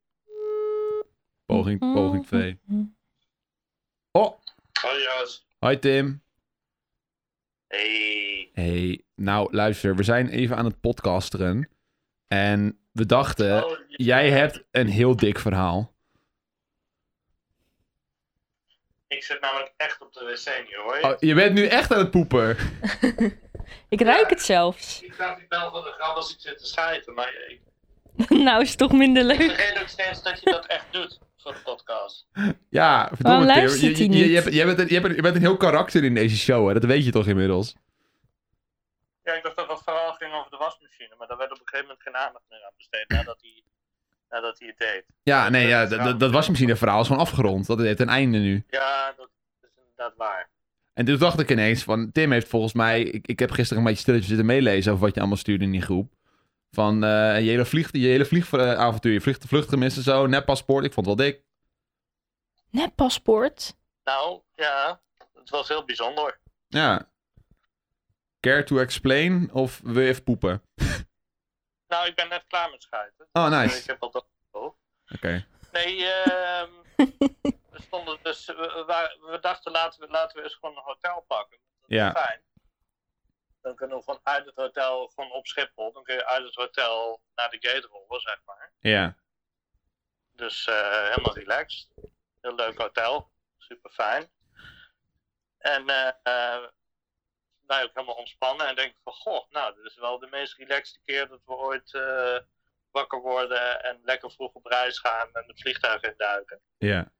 Poging,
Mm-hmm.
poging 2. Oh,
Hoi Joost.
hi Tim.
Hey.
Hey, nou luister, we zijn even aan het podcasteren. En we dachten,
Oh,
Eh, jij hebt een heel dik verhaal.
Ik zit namelijk echt op de wc nu hoor.
Oh, je bent nu echt aan het poepen.
Ik ruik het zelfs.
Ik dacht ik bel van de grap als ik zit te schijten, maar ik
nou is het toch minder
ik
leuk.
vergeet ook steeds dat je dat echt doet voor de podcast.
Ja, verdomme
Waarom
Tim.
luistert
Je, je,
hij
je- je
niet?
hebt- je bent een, je, hebt een- je bent een heel karakter in deze show, hè? dat weet je toch inmiddels?
Ja, ik dacht dat het vooral ging over de wasmachine, maar daar werd op een gegeven moment geen aandacht meer aan besteed nadat hij, nadat hij het deed.
Ja, nee, ja, dat- dat- dat was misschien een verhaal, is gewoon afgerond. Dat heeft een einde nu.
Ja, dat is inderdaad waar.
En toen dacht ik ineens van, Tim heeft volgens mij... Ik, ik heb gisteren een beetje stilletjes zitten meelezen over wat je allemaal stuurde in die groep. Van eh, je hele, vlieg, je hele vliegavontuur, je vlucht, vlucht gemist en zo, net paspoort. Ik vond het wel dik.
Net paspoort.
Nou, ja, het was heel bijzonder.
Ja. Care to explain of wil je even poepen?
Nou, ik ben net klaar met schijten.
Oh,
Ik
nice.
heb al dat
Oké.
Nee, ehm we stonden dus. We, we waren- we dachten laten we, laten we eens gewoon een hotel pakken. Dat is
Ja.
fijn. Dan kunnen we gewoon uit het hotel, gewoon op Schiphol. Dan kun je uit het hotel naar de gate rollen, zeg maar.
Ja.
Dus eh, helemaal relaxed. Heel leuk hotel. Super fijn. En eh, eh, wij ook helemaal ontspannen en denken van goh, nou, dit is wel de meest relaxte keer dat we ooit eh, wakker worden en lekker vroeg op reis gaan en het vliegtuig induiken.
Ja.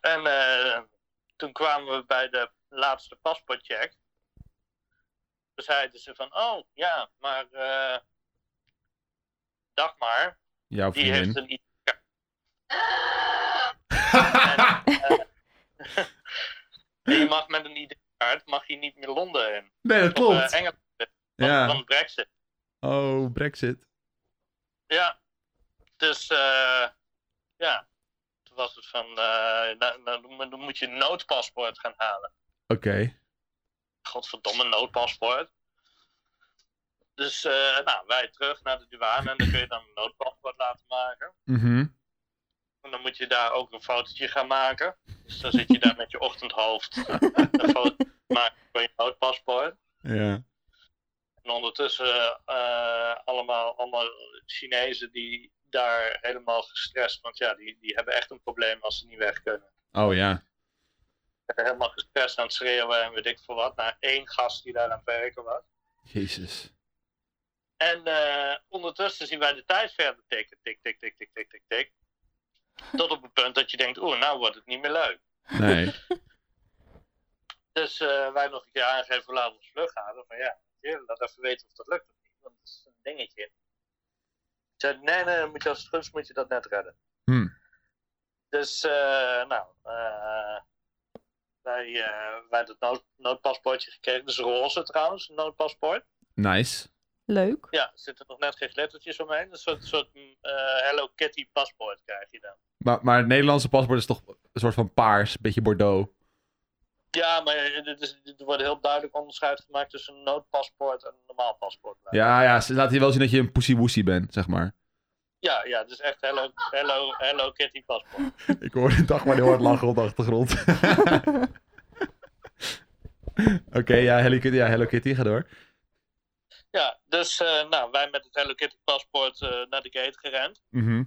En eh, toen kwamen we bij de laatste paspoortcheck. Toen zeiden ze van, oh ja, maar eh Dagmar,
Jouw
die heeft
vriendin.
een ID-kaart. En je mag met een ID-kaart mag je niet meer Londen in.
nee, dat
Of eh,
klopt.
Engeland in, van,
Ja.
van Brexit.
Oh, brexit.
Ja. Dus eh, ja, toen was het van, eh, nou, nou, dan moet je een noodpaspoort gaan halen.
Oké.
godverdomme noodpaspoort. Dus eh, nou, wij terug naar de douane en dan kun je dan een noodpaspoort laten maken.
Mhm.
En dan moet je daar ook een fotootje gaan maken. Dus dan zit je daar met je ochtendhoofd eh, een foto te maken van je noodpaspoort.
Ja.
En ondertussen eh, allemaal, allemaal Chinezen die daar helemaal gestrest, want ja, die, die hebben echt een probleem als ze niet weg kunnen.
Oh ja.
Ze zijn Helemaal gestrest aan het schreeuwen en weet ik veel wat, naar één gast die daar aan het werken was.
Jezus.
En eh, ondertussen zien wij de tijd verder tikken. Tik, tik, tik, tik, tik, tik, tik. Tot op het punt dat je denkt, oeh, nou wordt het niet meer leuk.
Nee.
Dus eh, wij nog een keer aangeven hoe laat we ons vlucht halen. Van ja, je, laat even weten of dat lukt of niet. Want dat is een dingetje. Ze zei, nee, nee, dan moet je als het goed is, moet je dat net redden.
Hm.
Dus, eh, nou, eh, wij, eh, wij hebben het nood, noodpaspoortje gekregen. Dus roze trouwens, een noodpaspoort.
Nice.
Leuk.
Ja, er zitten nog net geen glittertjes omheen. Een soort, soort mm, eh, Hello Kitty paspoort krijg je dan.
Maar, maar het Nederlandse paspoort is toch een soort van paars, een beetje Bordeaux.
Ja, maar eh, dit is, dit- er wordt heel duidelijk onderscheid gemaakt tussen een noodpaspoort en een normaal paspoort.
Ja, ja, ze laten je wel zien dat je een poesie woesie bent, zeg maar.
ja, ja, het is echt Hello, Hello, Hello Kitty paspoort.
Ik hoor dag maar heel hard lachen op de achtergrond. Oké, ja, Hello Kitty, ja, Hello Kitty, ga door.
Ja, dus eh, nou, wij met het Hello Kitty paspoort eh, naar de gate gerend.
Mhm.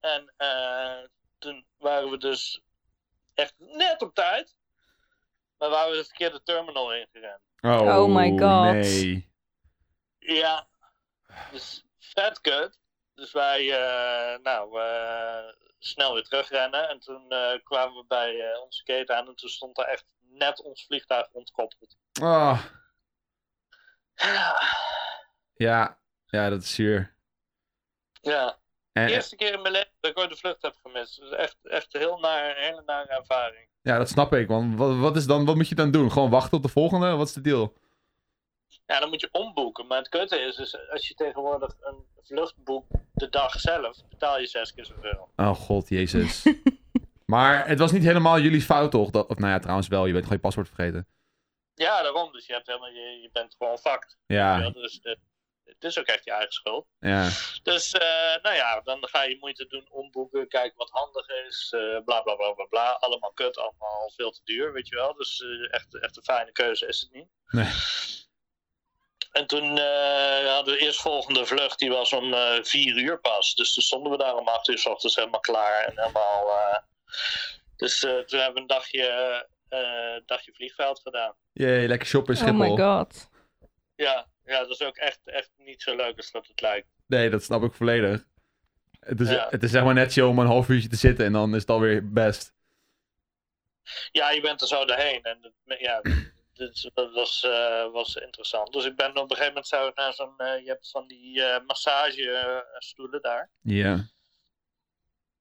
En eh, toen waren we dus echt net op tijd. Maar waren we de verkeerde terminal ingerend.
oh,
Oh my god.
Nee.
Ja, dus vet kut. Dus wij, eh, nou, eh, snel weer terugrennen. En toen eh, kwamen we bij eh, onze gate aan en toen stond daar echt net ons vliegtuig ontkoppeld.
Oh,
Ja,
ja. ja, dat is zuur.
ja.
En,
de eerste keer in mijn leven dat ik ooit de vlucht heb gemist. Dus echt, echt een heel naar, een hele nare ervaring.
ja, dat snap ik, man. Wat, wat, is dan, wat moet je dan doen? Gewoon wachten op de volgende? Wat is de deal?
Ja, dan moet je omboeken. Maar het kutte is, dus als je tegenwoordig een vlucht boekt de dag zelf, betaal je zes keer zoveel.
Oh god, jezus. maar het was niet helemaal jullie fout, toch? Dat, of nou ja, trouwens wel. Je bent gewoon je paswoord vergeten.
Ja, daarom. Dus je, hebt helemaal, je, je bent gewoon fucked. Ja,
Ja,
dus, eh, het is ook echt je eigen schuld.
ja.
Dus eh, nou ja, dan ga je moeite doen, omboeken, kijken wat handig is, eh, bla bla bla bla bla. Allemaal kut, allemaal veel te duur, weet je wel. Dus eh, echt, echt een fijne keuze is het niet.
Nee.
En toen eh, hadden we eerst volgende vlucht, die was om eh, vier uur pas. Dus toen stonden we daar om acht uur s ochtends helemaal klaar en helemaal... eh, Dus eh, toen hebben we een dagje, eh, dagje vliegveld gedaan.
Jee, lekker shoppen in
Oh my
Schiphol.
god.
Ja, ja, dat is ook echt, echt niet zo leuk als dat het lijkt.
nee, dat snap ik volledig. Het is,
Ja.
het is zeg maar net chill om een half uurtje te zitten en dan is het alweer best.
ja, je bent er zo doorheen. En dat, ja, dit, dat was, eh, was interessant. Dus ik ben op een gegeven moment zou ik naar zo'n. eh, je hebt van die eh massagestoelen daar.
Ja.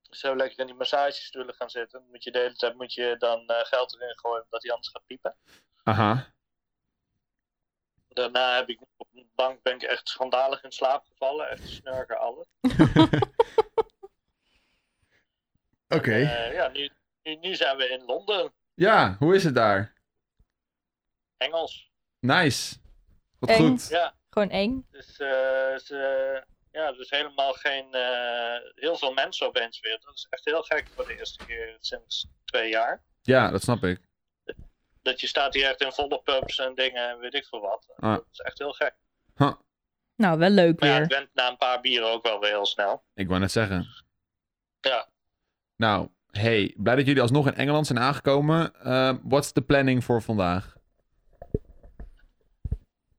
Zo lekker in die massagestoelen gaan zitten. Dan moet je de hele tijd moet je dan eh, geld erin gooien omdat hij anders gaat piepen.
Aha.
Daarna heb ik op de bank ben ik echt schandalig in slaap gevallen. Echt snurken alles.
Oké.
Eh, ja, nu, nu, nu zijn we in Londen.
Ja, hoe is het daar?
Engels.
Nice. Wat
Eng.
goed.
Ja.
Gewoon eng.
Dus, eh, dus, eh, ja, dus helemaal geen. eh, heel veel mensen opeens weer. Dat is echt heel gek voor de eerste keer sinds twee jaar.
Ja, dat snap ik.
Dat je staat hier echt in volle pubs en dingen en weet ik veel wat.
Ah.
Dat is echt heel gek.
Nou, wel leuk
Maar ja, het
weer.
went na een paar bieren ook wel weer heel snel.
Ik wou net zeggen.
Ja.
Nou, hey, blij dat jullie alsnog in Engeland zijn aangekomen. Eh, what's the planning voor vandaag?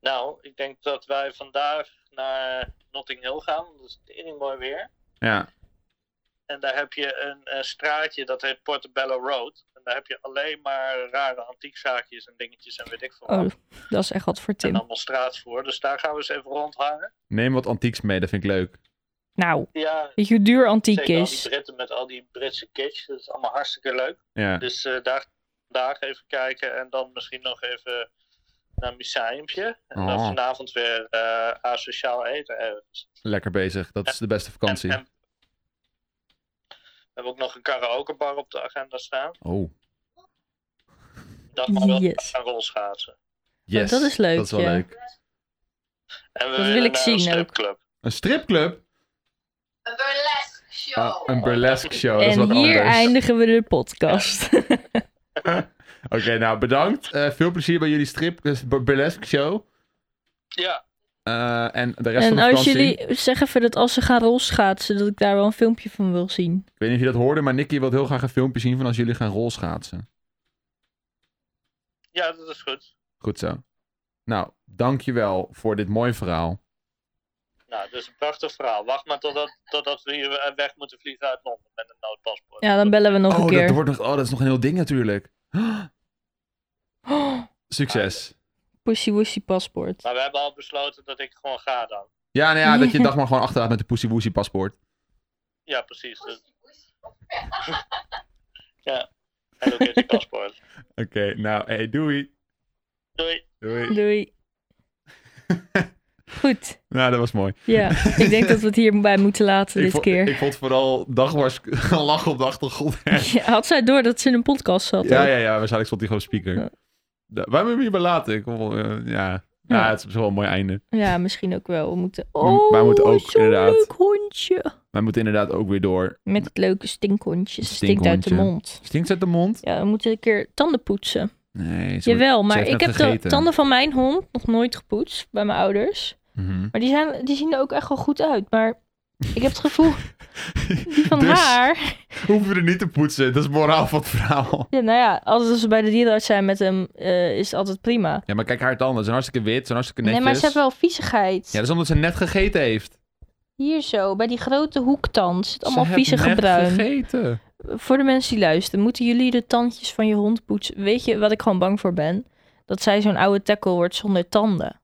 Nou, ik denk dat wij vandaag naar Notting Hill gaan. want Dat is tering mooi weer.
Ja.
En daar heb je een, eh, straatje dat heet Portobello Road. En daar heb je alleen maar rare antiekzaakjes en dingetjes en weet ik veel
Oh,
wat.
dat is echt wat voor
En
Tim.
allemaal straatvoer. Dus daar gaan we eens even rondhangen.
Neem wat antieks mee, dat vind ik leuk.
Nou,
Ja,
weet je hoe duur antiek
zeker al die
is?
Britten met al die Britse kitsch. Dat is allemaal hartstikke leuk.
Ja.
Dus eh, daar vandaag even kijken en dan misschien nog even naar een museumpje. En dan
Oh.
vanavond weer eh, asociaal eten ergens.
Lekker bezig. Dat is de beste
En,
vakantie.
en- we hebben ook nog een karaokebar op de agenda staan.
Oh,
Dat maar wel
Yes.
aan rolschaatsen.
yes.
dat is leuk,
Dat is wel
ja.
leuk.
En
Dat
we
wil
willen
ik
naar
zien
een
ook.
stripclub.
Een stripclub?
Een burlesque
Ah,
show.
een burlesque show. dat is
En
wat
hier
anders.
eindigen we de podcast.
Oké, nou bedankt. Eh, veel plezier bij jullie strip dus bur- burlesque show.
Ja,
Eh, en de rest van
En
de
als
vakantie.
jullie zeggen even dat als ze gaan rolschaatsen, dat ik daar wel een filmpje van wil zien.
Ik weet niet of je dat hoorde, maar Nicky wil heel graag een filmpje zien van als jullie gaan rolschaatsen.
ja, dat is goed.
Goed zo. Nou, dankjewel voor dit mooie verhaal.
Nou, dat is een prachtig verhaal. Wacht maar totdat, totdat we hier eh, weg moeten vliegen uit Londen met een noodpaspoort.
Ja, dan bellen we nog
oh,
een keer.
Dat, wordt nog, oh, dat is nog een heel ding natuurlijk.
Oh,
Succes.
Pussy Wussy paspoort.
Maar we hebben al besloten dat ik gewoon ga dan.
Ja, nou ja, dat je dag maar gewoon achterlaat met de Pussy Woesie paspoort.
Ja, precies. Dus
Poesie, poesie.
Hello Kitty paspoort.
Oké, nou, hey, doei.
Doei.
Doei.
Doei. Goed,
Nou, dat was mooi.
ja. Ik denk dat we het hierbij moeten laten
ik,
dit
vond,
keer.
ik vond vooral Dagmars lachen op de achtergrond.
Ja, had zij door dat ze in een podcast zat?
Ja,
ook?
ja, ja, waarschijnlijk stond hij gewoon speaker.
Ja.
Da- Waar hebben we hierbij laten? Ik, wil, eh, ja. Ja,
Ja.
het is wel een mooi einde.
Ja, misschien ook wel. We moeten...
m-
Oh,
wij moeten ook,
zo'n
inderdaad.
leuk hondje.
Wij moeten inderdaad ook weer door.
Met het leuke stinkhondje. Stinkt uit de
Stinkhondje.
mond.
Stinkt uit de mond?
Ja, we moeten een keer tanden poetsen.
Nee. sorry.
Jawel, maar
heeft
ik
net
heb de
gegeten.
tanden van mijn hond nog nooit gepoetst bij mijn ouders.
Mhm.
Maar die, zijn, die zien er ook echt wel goed uit. Maar ik heb het gevoel, die van
Dus-
haar...
Hoeven we er niet te poetsen. Dat is moraal van het verhaal.
Ja, nou ja, als ze bij de dierenarts zijn met hem, eh, is het altijd prima.
Ja, maar kijk haar tanden. Ze zijn hartstikke wit. Ze zijn hartstikke
Nee,
netjes.
maar ze hebben wel viezigheid.
Ja,
Ja,
dat is omdat ze net gegeten heeft.
Hier zo, bij die grote hoektand zit allemaal
Ze hebben
vieze
net
gebruin.
gegeten.
Voor de mensen die luisteren, moeten jullie de tandjes van je hond poetsen? Weet je wat ik gewoon bang voor ben? Dat zij zo'n oude tackle wordt zonder tanden.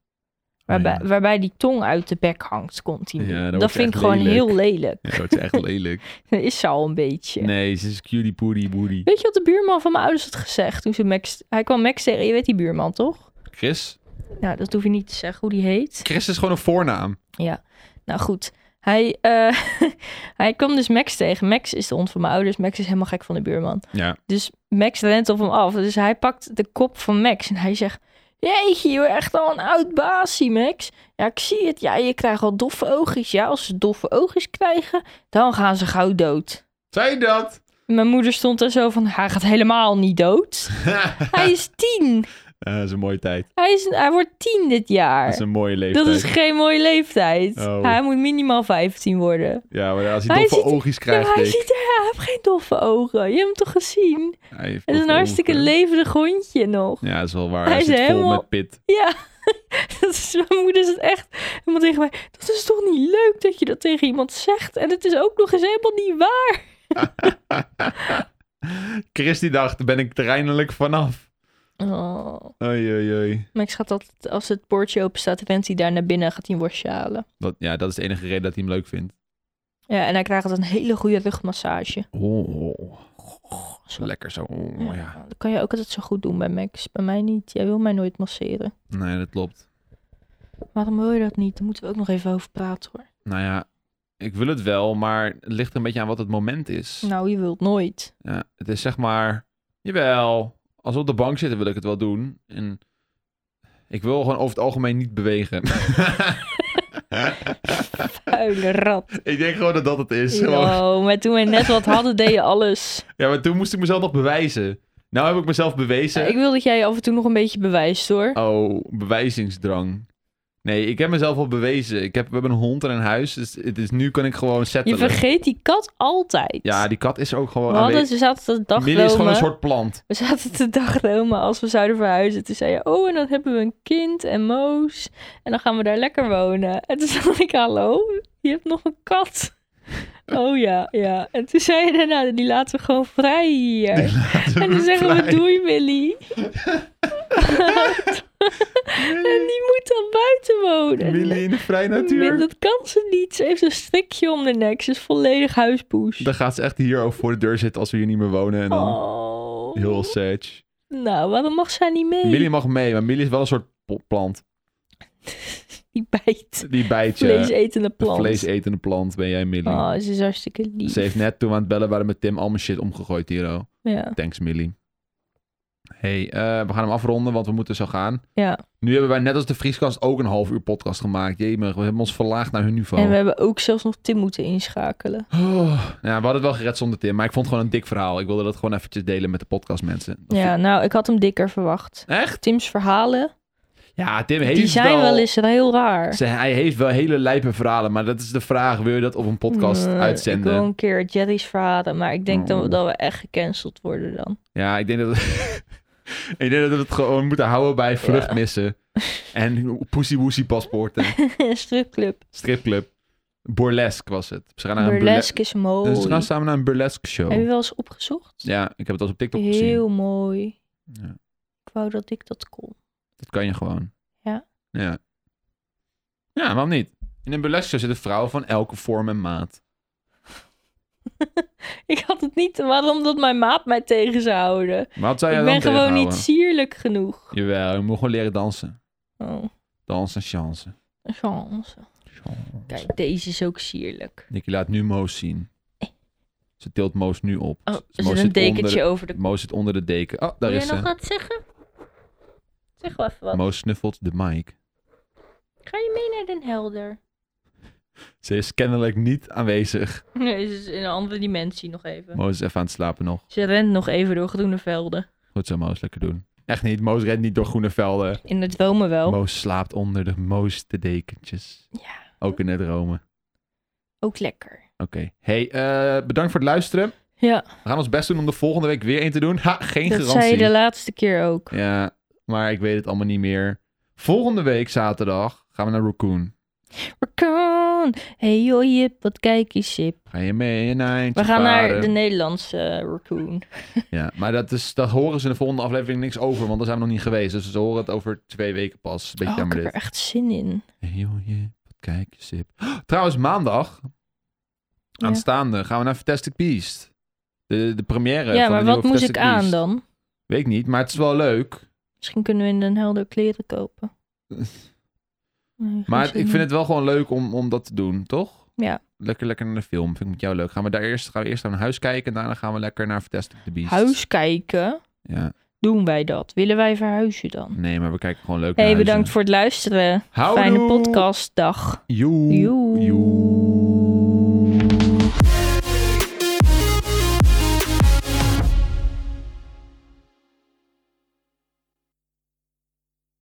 Waarbij,
Oh ja.
waarbij die tong uit de bek hangt continu.
Ja, dan
dat
wordt ze
vind ik
echt
gewoon
lelijk.
heel lelijk.
Ja, dat is echt lelijk.
Dat is ze al een beetje.
Nee, ze is cutie poodie boody.
Weet je wat de buurman van mijn ouders had gezegd toen ze Max... Hij kwam Max tegen, je weet die buurman toch?
Chris?
Nou, dat hoef je niet te zeggen hoe die heet.
Chris is gewoon een voornaam.
Nou goed, hij, eh, hij kwam dus Max tegen. Max is de hond van mijn ouders. Max is helemaal gek van de buurman.
Ja.
Dus Max rent op hem af. Dus hij pakt de kop van Max en hij zegt... Jeetje, je bent echt al een oud baasie, Max. Ja, ik zie het. Ja, je krijgt al doffe oogjes. Ja, als ze doffe oogjes krijgen, dan gaan ze gauw dood.
Zijn dat?
Mijn moeder stond er zo van, hij gaat helemaal niet dood. Hij is tien.
Ja, dat is een mooie tijd.
Hij, is, hij wordt tien dit
Dat is
jaar.
een mooie leeftijd.
Dat is geen mooie leeftijd.
Oh.
Hij moet minimaal 15 worden.
Ja, maar als hij
Hij
doffe
ziet-
oogjes
Ja,
krijgt,
maar hij
ik-
ziet er, hij heeft geen doffe ogen. Je hebt hem toch gezien?
Hij heeft
Het is
doffe
een hartstikke
ogen.
levendig hondje nog.
Ja, dat is wel waar.
Hij
Hij
is
zit vol
helemaal-
met pit.
Ja, dat is, mijn moeder is het echt helemaal tegen mij. Dat is toch niet leuk dat je dat tegen iemand zegt? En het is ook nog eens helemaal niet waar.
Chris die dacht, ben ik er eindelijk vanaf.
Oh,
Oei, oei, oei.
Max gaat altijd, als het poortje open staat, rent hij daar naar binnen gaat hij een worstje halen.
Dat, ja, dat is de enige reden dat hij hem leuk vindt.
Ja, en hij krijgt altijd een hele goede rugmassage.
Oh, zo
Zo.
lekker zo. Oh, ja.
Dat kan je ook altijd zo goed doen bij Max. Bij mij niet. Jij wil mij nooit masseren.
Nee, dat klopt.
Waarom wil je dat niet? Daar moeten we ook nog even over praten hoor.
Nou ja, ik wil het wel, maar het ligt er een beetje aan wat het moment is.
Nou, je wilt nooit.
Ja, het is zeg maar, jawel, als we op de bank zitten wil ik het wel doen. En ik wil gewoon over het algemeen niet bewegen.
Vuile rat.
ik denk gewoon dat dat het is. Gewoon-
Oh, maar toen we net wat hadden, deed je alles.
Ja, maar toen moest ik mezelf nog bewijzen. Nou heb ik mezelf bewezen.
ik wil dat jij je af en toe nog een beetje bewijst hoor.
Oh, bewijzingsdrang. Nee, ik heb mezelf al bewezen. Ik heb, we hebben een hond en een huis, dus het is, nu kan ik gewoon
Je
settelen.
vergeet die kat altijd.
Ja, die kat is ook
we
gewoon
hadden,
aanwezig.
we zaten te
Millie is gewoon
dagromen.
een soort plant.
We zaten te dagromen als we zouden verhuizen. Toen zei je, oh, en dan hebben we een kind en Moos. En dan gaan we daar lekker wonen. En toen dacht ik, hallo, je hebt nog een kat. Oh ja, ja. En toen zei je daarna, die laten we gewoon vrij hier. en dan zeggen we, doei Millie. En die moet dan buiten wonen.
Millie in de vrije natuur.
Dat kan ze niet. Ze heeft een strikje om de nek. Ze is volledig huispoes.
Dan gaat ze echt hier ook voor de deur zitten als we hier niet meer wonen. En dan
Oh.
heel sage.
Nou, waarom mag zij niet mee?
Millie mag mee, maar Millie is wel een soort po- plant.
Die bijt.
Die bijt je.
Vleesetende
Een
plant.
vleesetende plant ben jij, Millie.
Oh, ze is hartstikke lief.
Ze heeft net toen we aan het bellen waren met Tim al mijn shit omgegooid hier. oh.
Ja.
Thanks, Millie. hey, eh, we gaan hem afronden, want we moeten zo gaan.
ja.
Nu hebben wij net als de Vrieskast ook een half uur podcast gemaakt. Jemig, we hebben ons verlaagd naar hun niveau.
En we hebben ook zelfs nog Tim moeten inschakelen.
Oh, ja, we hadden het wel gered zonder Tim, maar ik vond het gewoon een dik verhaal. Ik wilde dat gewoon eventjes delen met de podcastmensen. Dat
Ja, nou, ik had hem dikker verwacht.
vind- Echt?
Tim's verhalen,
Ja, Tim heeft
die zijn wel...
wel
eens heel raar.
Ze- hij heeft wel hele lijpe verhalen, maar dat is de vraag. Wil je dat op een podcast
Nee,
uitzenden?
Hmm, Ik wil een keer Jerry's verhalen, maar ik denk
Oh.
dat, dat we echt gecanceld worden dan.
Ja, ik denk dat... ik denk dat we het gewoon moeten houden bij vluchtmissen. En poesie woesie paspoorten.
Stripclub.
Stripclub. Burlesque was het. Ze gaan naar
Burlesque is
een burlesque... Ze gaan
mooi.
samen naar een burlesque show.
Heb je wel eens opgezocht?
Ja, ik heb het al eens op TikTok gezien.
Heel mooi.
Ja.
Ik wou dat ik dat kon.
Dat kan je gewoon.
Ja.
Ja. Ja, waarom niet? In een burlesque show zitten vrouwen van elke vorm en maat.
Ik had het niet, waarom dat mijn maat mij tegen zou houden.
Maar wat zou jij
ik
dan
ben gewoon
tegenhouden?
niet sierlijk genoeg.
Jawel, je moet gewoon leren dansen.
Oh,
Dansen, chansen.
een chance. Kijk, deze is ook sierlijk.
Nicky laat nu Moos zien. Ze tilt Moos nu op.
Oh,
Moos
er zit een dekentje over de...
onder, Moos zit onder de deken. Oh, daar
Wil
is
jij nog
ze.
wat zeggen? Zeg wel even wat.
Moos snuffelt de mic.
Ga je mee naar Den Helder?
Ze is kennelijk niet aanwezig.
Nee, ze is in een andere dimensie nog even.
Moos is even aan het slapen nog.
Ze rent nog even door groene velden.
Goed zo, Moos. Lekker doen. Echt niet. Moos rent niet door groene velden.
In het dromen wel.
Moos slaapt onder de mooiste dekentjes.
Oh. Ja,
Ook in het dromen.
ook lekker.
Oké. Hey, eh, bedankt voor het luisteren.
Ja,
We gaan ons best doen om de volgende week weer één te doen. Ha, geen
dat zei
garantie.
je de laatste keer ook.
Ja, maar ik weet het allemaal niet meer. Volgende week zaterdag gaan we naar Raccoon.
Raccoon. Town. Hey joh, Jip, wat kijk je, Sip.
Ga je mee een eindje
We gaan naar
varen?
de Nederlandse eh, raccoon.
Ja, maar dat, is, dat horen ze in de volgende aflevering niks over, want daar zijn we nog niet geweest. Dus ze horen het over twee weken pas. Beetje
Oh, ik
jammer
heb
dit.
er echt zin in.
Hey, joh, je- wat kijk je, Sip. Trouwens, maandag,
Ja.
aanstaande, gaan we naar Fantastic Beast. De, de première
ja,
van
maar
de nieuwe
wat moest ik
Fantastic
aan
Beast.
dan?
Weet ik niet, maar het is wel leuk.
Misschien kunnen we in Den Helder kleren kopen. Nee, geen
Maar
zin
ik
in.
vind het wel gewoon leuk om, om dat te doen, toch?
Ja.
Lekker, lekker naar de film. Vind ik met jou leuk. Gaan we daar eerst, gaan we eerst naar een huis kijken en daarna gaan we lekker naar Fantastic the Beast.
Huis kijken?
Ja.
Doen wij dat? Willen wij verhuizen dan?
Nee, maar we kijken gewoon leuk
Hey,
naar
bedankt voor het luisteren.
voor
Fijne podcastdag.
Joe.
Joe.
Joe.